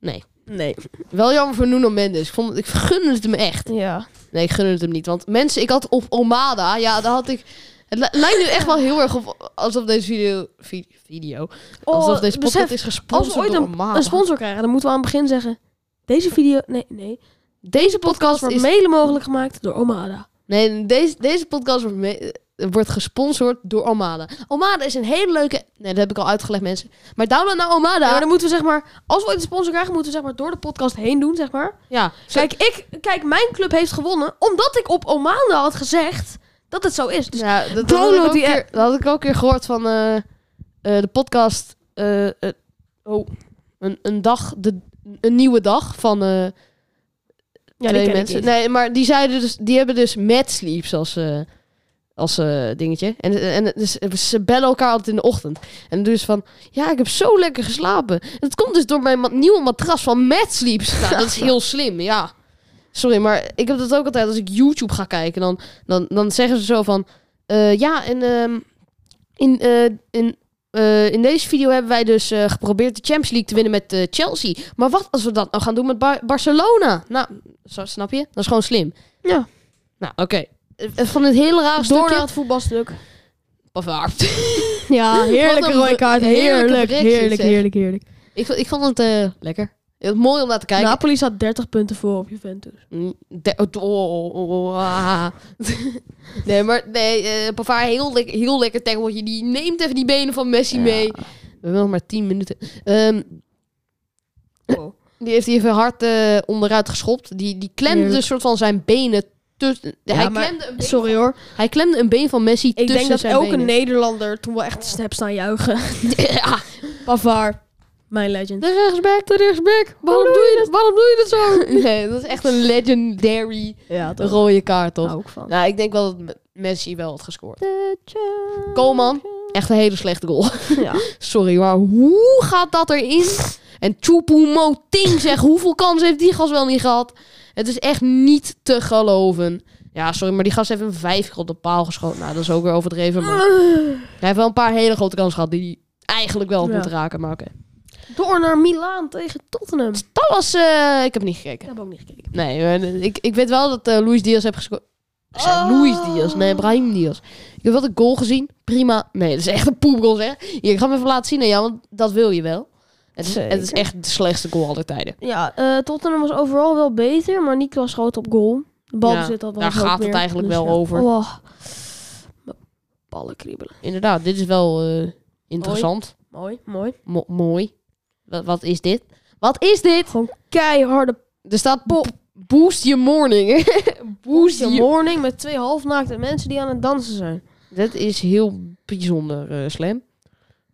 A: Nee.
B: Nee.
A: Wel jammer voor Nuno Mendes. Ik, vond, ik gunde het hem echt.
B: Ja.
A: Nee, ik gunde het hem niet. Want mensen, ik had op Omada, ja, daar had ik... Het li- lijkt nu echt wel heel erg op alsof deze video... vi- video alsof deze podcast is gesponsord
B: als we ooit
A: door Omada.
B: Oh, een sponsor krijgen, dan moeten we aan het begin zeggen... Deze video... Nee, nee.
A: deze podcast
B: Podcast wordt
A: is...
B: mede mogelijk gemaakt door Omada.
A: Nee, deze, deze podcast wordt, me- eh, wordt gesponsord door Omada. Omada is een hele leuke... Nee, dat heb ik al uitgelegd, mensen. Maar download nou naar
B: Ja, maar
A: Omada.
B: dan moeten we zeg maar... Als we ooit een sponsor krijgen, moeten we zeg maar door de podcast heen doen, zeg maar.
A: Ja,
B: Kijk, ik, kijk, mijn club heeft gewonnen omdat ik op Omada had gezegd dat het zo is. Dus
A: Ja, dat, dat, had ik
B: Download
A: ook
B: die
A: keer, dat had ik ook een keer gehoord van eh, eh, de podcast eh, eh, oh, een, een dag, de, een nieuwe dag van eh,
B: Ja,
A: twee mensen. Nee, maar die zeiden dus, die hebben dus mad sleeps als, eh, als eh, dingetje. En, en het is- ze bellen elkaar altijd in de ochtend. En dus van, ja, ik heb zo lekker geslapen. En dat komt dus door mijn ma- nieuwe matras van mad sleeps. Nou, dat is heel slim, ja. Sorry, maar ik heb dat ook altijd als ik YouTube ga kijken. Dan, dan, dan zeggen ze zo van, eh, ja, en ehm, in, eh, in, eh, in deze video hebben wij dus eh, geprobeerd de Champions League te winnen met eh, Chelsea. Maar wat als we dat nou gaan doen met Bar- Barcelona? Nou, zo, snap je? Dat is gewoon slim.
B: Ja.
A: Nou, oké. Eh, Van het hele raar
B: Door naar
A: stukje...
B: het voetbalstuk.
A: Pavaard.
B: Ja, heerlijke
A: Wat een
B: rode kaart.
A: be- heerlijke
B: Heerlijk,
A: brexit,
B: heerlijk,
A: zeg.
B: heerlijk, heerlijk.
A: ik, vond- ik vond het eh, lekker. Heel mooi om naar te kijken.
B: Napoli staat 30 punten voor op Juventus.
A: Mm, de- oh, oh, oh, oh, ah. nee, maar nee, eh, Pavard, heel, lek- heel lekker tackle. Die neemt even die benen van Messi
B: Ja.
A: mee. We hebben nog maar 10 minuten. Ehm,
B: Wow.
A: die heeft hij even hard eh, onderuit geschopt. Die, die klemde
B: Heerlijk.
A: dus soort van zijn benen tussen...
B: Ja,
A: hij,
B: maar-
A: klemde een been,
B: Sorry hoor.
A: hij klemde een been van Messi
B: Ik
A: tussen
B: denk dat
A: zijn
B: elke
A: benen.
B: Nederlander toen wel echt heb staan juichen.
A: ja.
B: Pavard, mijn legend.
A: De rechtsback, de rechtsback. Waarom doe je dat? Waarom doe je dat zo? nee, dat is echt een legendary
B: Ja, toch.
A: rode kaart, toch?
B: Hou ik van.
A: Nou, ik denk wel dat Me- Messi wel had gescoord.
B: De Champions.
A: Koeman. Echt een hele slechte goal.
B: Ja.
A: Sorry, maar hoe gaat dat erin? En Choupo Moting zeg, hoeveel kansen heeft die gast wel niet gehad? Het is echt niet te geloven. Ja, sorry, maar die gast heeft een vijf keer op de paal geschoten. Nou, dat is ook weer overdreven. Maar hij heeft wel een paar hele grote kansen gehad die hij eigenlijk wel had
B: Ja.
A: moeten raken. Maar oké.
B: Door naar Milaan tegen Tottenham. Ik
A: Dat was... eh, ik heb niet gekeken.
B: heb ook niet gekeken.
A: Nee, maar ik, ik weet wel dat eh, Luis Diaz heeft gescoord. Ik zei
B: Oh.
A: Luis Diaz, nee, Brahim Diaz. Ik heb wel de goal gezien. Prima. Nee, dat is echt een poepgoal, zeg. Hier, ik ga hem even laten zien aan jou, want dat wil je wel. Het is, het is
B: Zeker.
A: echt de slechtste goal aller tijden.
B: Ja, eh, Tottenham was overal wel beter, maar niet was groot op goal. De bal
A: Ja,
B: zit dat wel
A: daar
B: een groot
A: gaat het
B: meer.
A: eigenlijk wel
B: ja.
A: over.
B: Oh. Mijn Ballen kriebelen.
A: Inderdaad, dit is wel eh, interessant.
B: Mooi, mooi.
A: Mo- mooi. Wat, wat is dit? Wat is dit?
B: Gewoon keiharde
A: Er staat pop. Boost your morning. hè? Boost
B: Poesje
A: your...
B: morning met twee halfnaakte mensen die aan het dansen zijn.
A: Dat is heel bijzonder, eh, Slam.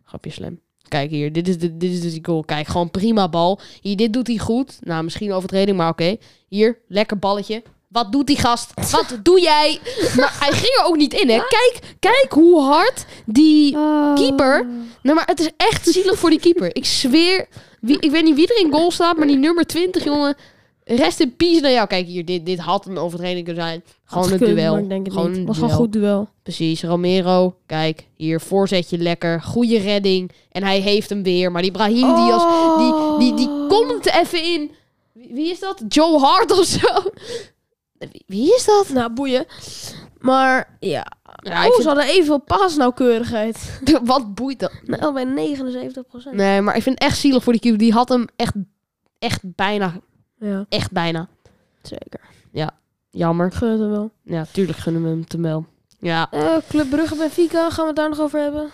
A: Grapje, Slam. Kijk hier, dit is, de, dit is dus die goal. Kijk, gewoon prima bal. Hier, dit doet hij goed. Nou, misschien overtreding, maar oké. Hier, lekker balletje. Wat doet die gast? Wat doe jij? Maar hij ging er ook niet in, hè. Kijk, kijk hoe hard die...
B: Oh.
A: Keeper? Nou, maar het is echt zielig voor die keeper. Ik zweer... Wie, ik weet niet wie er in goal staat, maar die nummer 20, jongen... Rest in peace naar jou. Kijk hier, dit, dit had een overtreding kunnen zijn.
B: Had
A: Gewoon een
B: gekund,
A: duel.
B: maar ik denk het
A: gewoon
B: niet.
A: een
B: was gewoon
A: duel.
B: goed duel.
A: Precies, Romero. Kijk, hier voorzetje lekker. Goede redding. En hij heeft hem weer. Maar die Brahim Diaz, die, die, die komt even in. Wie, wie is dat? Joe Hart of zo? Wie, wie is dat?
B: Nou, boeien. Maar ja.
A: Ja,
B: oh,
A: ik
B: ze hadden evenveel paasnauwkeurigheid.
A: vind, wat boeit dat?
B: Nou, bij 79 procent.
A: Nee, maar ik vind het echt zielig voor die keeper. Die had hem echt, echt bijna.
B: Ja,
A: Echt bijna.
B: zeker.
A: Jammer.
B: Ik gun het hem wel.
A: Ja, tuurlijk gunnen we hem te wel. Ja.
B: Eh, Club Brugge Benfica, gaan we het daar nog over hebben?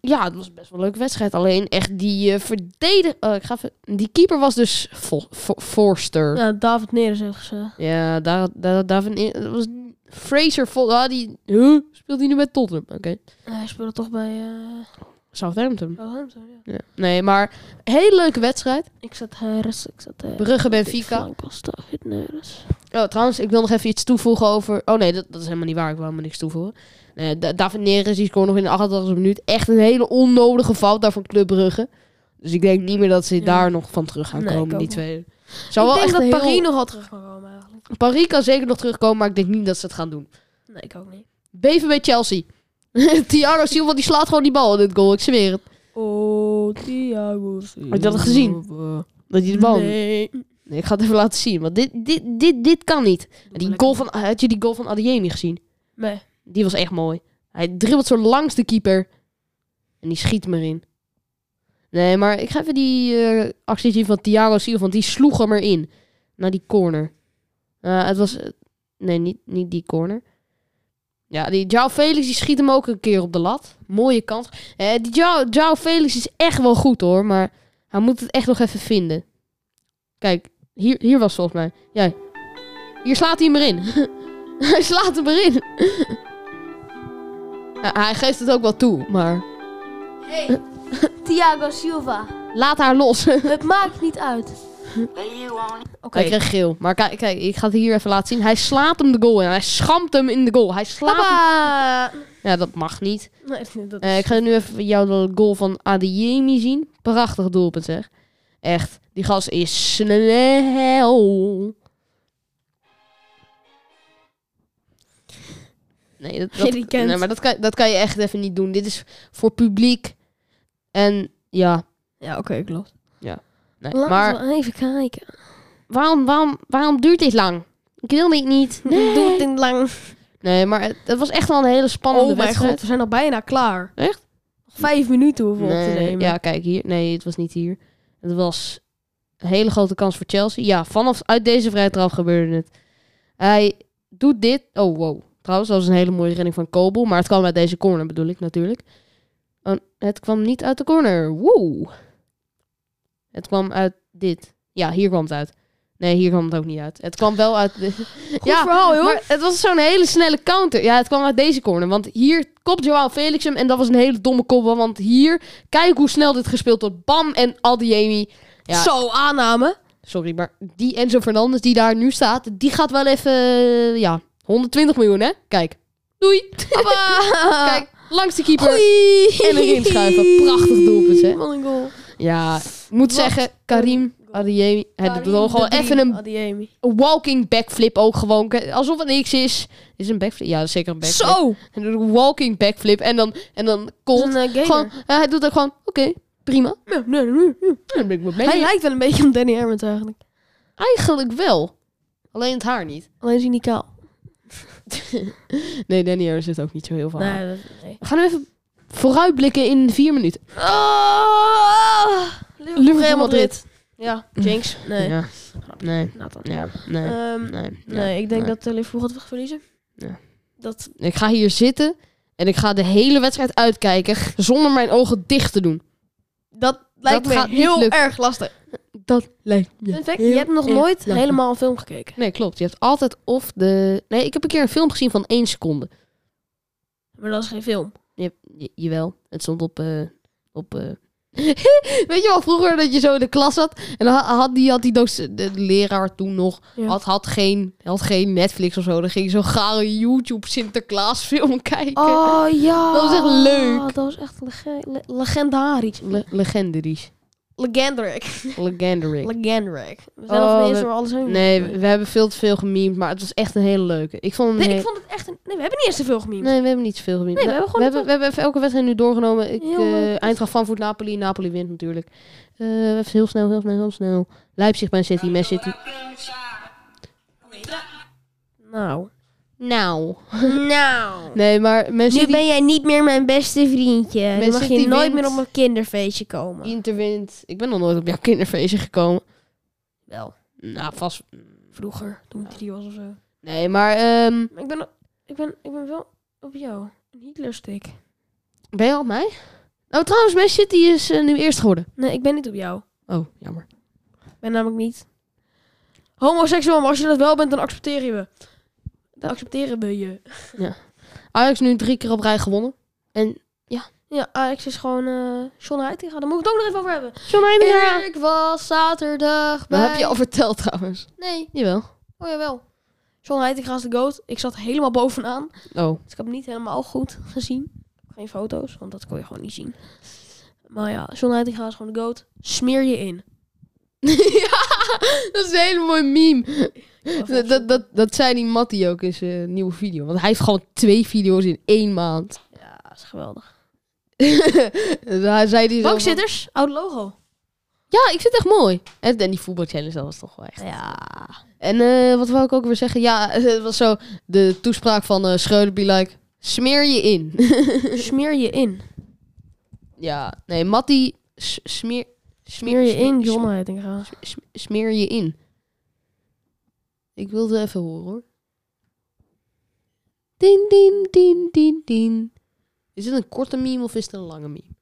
A: ja, het was best wel een leuke wedstrijd. Alleen echt die eh verdediger... oh, ik ga even... Die keeper was dus Fo- Fo- Forster.
B: Ja, Nou, David Neres heeft gezegd.
A: Ja, daar, daar, daar vind ik- dat was Fraser vol. Ah, die huh? speelt hij nu bij Tottenham. Oké.
B: Hij speelde toch bij eh,
A: Southampton.
B: Southampton, ja.
A: Ja. Nee, maar hele leuke wedstrijd.
B: Ik zat Harris, ik zat... eh,
A: Brugge
B: ik
A: Benfica.
B: flank was David Neres.
A: Oh, trouwens, ik wil nog even iets toevoegen over. Oh nee, dat, dat is helemaal niet waar. Ik wil helemaal niks toevoegen. Nee, Da- David Neres die scoort nog in de 88e minuut. Echt een hele onnodige fout daar van Club Brugge. Dus ik denk niet meer dat ze
B: Ja.
A: daar nog van terug gaan
B: Nee, ik
A: komen,
B: ook
A: die
B: niet.
A: twee.
B: Ik
A: Zou wel
B: denk
A: echt
B: dat
A: een heel-
B: Paris nog wel terug kan komen eigenlijk.
A: Paris kan zeker nog terugkomen, maar ik denk niet dat ze het gaan doen.
B: Nee, ik ook niet.
A: BVB Chelsea. Thiago Silva die slaat gewoon die bal in het goal, ik zweer het.
B: Oh, Thiago Silva.
A: je dat al gezien? Dat hij de bal.
B: Nee.
A: Nee, ik ga het even laten zien. Want dit, dit, dit, dit kan niet. Die
B: lekker.
A: goal van, had je die goal van Adeyemi gezien?
B: Nee.
A: Die was echt mooi. Hij dribbelt zo langs de keeper. En die schiet maar in. Nee, maar ik ga even die eh, actie zien van Thiago Silva. Want die sloeg hem erin. Naar die corner. Eh, het was... eh, nee, niet, niet die corner. Ja, die Joao Felix die schiet hem ook een keer op de lat. Mooie kans. Eh, die Joao, Joao Felix is echt wel goed hoor. Maar hij moet het echt nog even vinden. Kijk, hier, hier was volgens mij. Ja. Hier slaat hij hem erin. hij slaat hem erin. Ja, hij geeft het ook wel toe, maar...
B: Hey,
C: Thiago Silva.
A: Laat haar los.
C: Het maakt niet uit.
B: Oké.
A: Hij kreeg geel. Maar kijk, kijk, ik ga het hier even laten zien. Hij slaat hem de goal in. Hij schampt hem in de goal. Hij slaat hem-
B: Papa!
A: Ja, dat mag niet.
B: Nee, dat
A: Eh, ik ga nu even jou de goal van Adeyemi zien. Prachtig doelpunt zeg. Echt, die gas is snel. Nee, dat, dat,
B: Die kent.
A: nee maar dat kan, dat kan je echt even niet doen. Dit is voor publiek. En ja,
B: Ja, oké, klopt.
A: nee.
B: Laten
A: Eh, maar
B: we even kijken.
A: waarom, waarom, waarom duurt dit lang? Ik wil dit niet.
B: Doe het in lang.
A: Nee, maar het, het was echt wel een hele spannende
B: Oh mijn
A: wedstrijd.
B: god, we zijn al bijna klaar.
A: Echt?
B: Nog vijf minuten hoeven we op te
A: Nee,
B: nemen.
A: Ja, kijk hier. Nee, het was niet hier. Het was een hele grote kans voor Chelsea. Ja, vanaf uit deze vrije trap gebeurde het. Hij doet dit. Oh, wow. Trouwens, dat was een hele mooie redding van Kobel. Maar het kwam uit deze corner, bedoel ik natuurlijk. Oh, het kwam niet uit de corner. Wow. Het kwam uit dit. Ja, hier kwam het uit. Nee, hier kwam het ook niet uit. Het kwam wel uit... de-
B: Goed verhaal, joh.
A: maar het was zo'n hele snelle counter. Ja, het kwam uit deze corner. Want hier kopt Joao Felix hem. En dat was een hele domme kopbal. Want hier, kijk hoe snel dit gespeeld wordt. Bam en Adiemi. Ja.
B: Zo, aanname.
A: Sorry, maar die Enzo Fernandes die daar nu staat... die gaat wel even... eh, Ja, 120 miljoen, hè? Kijk. Doei.
B: Kijk,
A: Kijk, langs de keeper.
B: Oei.
A: En erin schuiven. Prachtig doelpunt, hè?
B: Wat een goal.
A: Ja, ik moet
B: Wat
A: zeggen, Karim Adiemi... hij doet wel gewoon even een
B: Oh,
A: walking backflip ook gewoon. Kijk, Alsof het niks is. Is het een backflip? Ja, dat is zeker een backflip.
B: Zo!
A: En doet een walking backflip en dan, en dan
B: Dat
A: cold.
B: is een, eh,
A: gewoon,
B: gainer.
A: eh, hij doet ook gewoon, oké, prima.
B: Ja, nee, nee, nee.
A: Dan ben ik wel
B: Hij
A: blij.
B: lijkt wel een beetje op Danny Hermans eigenlijk.
A: Eigenlijk wel. Alleen het haar niet.
B: Alleen is hij niet kaal.
A: Nee, Danny Harris heeft ook niet zo heel veel haar.
B: Nee, dat, nee.
A: We gaan nu even vooruitblikken in vier minuten.
B: Oh! Liverpool,
A: Real
B: Real
A: Madrid.
B: Madrid. Ja, Jinx. Nee.
A: Ja. Nee,
B: Nathan.
A: ja, nee,
B: Ehm, nee,
A: nee,
B: ik denk
A: nee.
B: dat eh, Liverpool gaat verliezen.
A: Ja.
B: Dat,
A: Ik ga hier zitten en ik ga de hele wedstrijd uitkijken zonder mijn ogen dicht te doen.
B: dat lijkt me
A: gaat niet
B: heel
A: lukken.
B: erg lastig.
A: Dat lijkt me
B: In fact,
A: heel
B: je hebt nog
A: erg
B: nooit
A: lastig.
B: helemaal een film gekeken.
A: Nee, klopt. Je hebt altijd of de... Nee, ik heb een keer een film gezien van één seconde.
B: Maar dat is geen film.
A: Je, hebt- je- jawel, het stond op... eh, op eh. Weet je wel, vroeger dat je zo in de klas zat... en dan ha- had die, had die doos, de de leraar toen nog...
B: Ja.
A: Had, had, geen, had geen Netflix of zo. Dan ging je zo'n gare YouTube Sinterklaas film kijken.
B: Oh ja.
A: Dat was echt leuk.
B: Dat was echt lege- le- legendarisch.
A: Le- legendarisch.
B: Legendaric.
A: Legendary.
B: Legendaric. We zijn
A: Oh,
B: nog niet eens
A: we-
B: door alles heen.
A: nee, we, we hebben veel te veel gememd, maar het was echt een hele leuke. Ik vond hem
B: Nee,
A: he-
B: ik vond het echt... Een... Nee, we hebben niet eens te veel gememd.
A: Nee, we hebben niet zoveel gememd.
B: Nee, we
A: Nou,
B: hebben gewoon
A: we, hebben, we hebben even elke wedstrijd nu doorgenomen. Ik,
B: Heel
A: eh
B: leuk.
A: Eindracht, Frankfurt, Napoli. Napoli wint natuurlijk. Eh, even heel snel, heel snel, heel snel. Leipzig bij City, Man City.
B: Nou.
A: Nou.
C: Nou.
A: Nee, maar
B: Dus
A: Man City
C: jij niet meer mijn beste vriendje.
A: Nu mag je City nooit wint. meer op
C: mijn kinderfeestje komen.
A: Inter wint. Ik ben nog nooit op jouw kinderfeestje gekomen.
B: Wel.
A: Nou, vast.
B: Vroeger, toen ik drie was of zo.
A: Nee, maar ehm,
B: Maar ik ben, ik ben, ik ben wel op jou. Een Hitlerstick.
A: ben je al op mij? Oh, trouwens, Man City is eh, nu eerst geworden.
B: Nee, ik ben niet op jou.
A: Oh, jammer.
B: Ik ben namelijk niet homoseksueel. Maar als je dat wel bent, dan accepteer je we. Dan accepteren we je.
A: Ajax nu drie keer op rij gewonnen. En
B: Ja, Alex is gewoon eh John Heitinga. Daar moet ik het ook nog even over hebben.
A: John Heitinga.
B: Ik was zaterdag bij...
A: Dat heb je al verteld trouwens.
B: Nee.
A: Jawel.
B: Oh, jawel. John Heitinga is de goat. Ik zat helemaal bovenaan.
A: Oh.
B: Dus ik heb hem niet helemaal goed gezien. Geen foto's, want dat kon je gewoon niet zien. Maar ja, John Heitinga is gewoon de goat. Smeer je in.
A: ja, dat is een hele mooie meme. Dat,
B: volgens-
A: dat, dat, dat zei die Mattie ook in zijn nieuwe video. Want hij heeft gewoon twee video's in één maand.
B: Ja, dat is geweldig.
A: Dus hij zei die zo van-
B: Bankzitters, oud logo.
A: Ja, ik vind het echt mooi. En, en die voetbalchallenge, dat was toch wel echt...
B: Ja.
A: En eh, wat wil ik ook weer zeggen? Ja, het was zo de toespraak van eh Schreuder, be like... Smeer je in.
B: Smeer je in.
A: ja, nee, Mattie... s- Smeer,
B: Smeer je in,
A: smeer-
B: John Heitinga.
A: s- Smeer je in. Ik wilde even horen hoor. Din, din, din, din, din. Is dit een korte meme of is het een lange meme?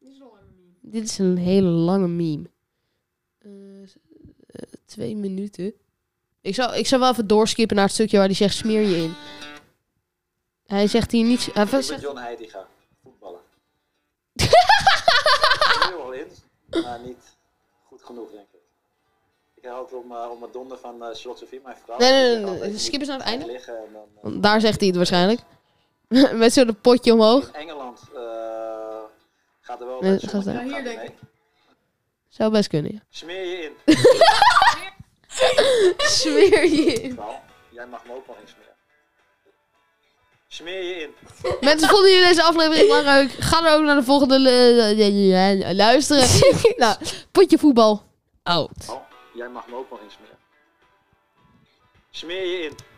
A: Dit is een hele lange meme. Eh, s- eh, twee minuten. Ik zou, ik zou wel even doorskippen naar het stukje waar hij zegt smeer je in. Hij zegt hier niets. Hij
D: Ik ben
A: zegt-
D: John Heitinga, voetballer. maar niet goed genoeg, denk ik. Ik hoop om, eh, om het donder van eh Charlotte Sophie, mijn vrouw.
A: Nee, nee,
D: die
A: nee,
D: zegt
A: nee,
D: altijd, je
A: skip eens
D: moet
A: naar het einde.
D: Liggen en dan, eh,
A: Want daar zegt hij het waarschijnlijk. Met zo'n potje omhoog.
D: in Engeland eh, gaat er wel
A: Nee,
D: een
A: gaat er-
D: hier denk ik.
A: Zou best kunnen, ja.
D: Smeer je in.
A: Zweer je in.
D: Vrouw, jij mag me ook nog eens smeren. Smeer je in.
A: Mensen, vonden jullie deze aflevering belangrijk? Ga dan ook naar de volgende eh, luisteren. nou, potje voetbal. Out.
D: Vrouw, jij mag me ook nog eens smeren. Smeer je in.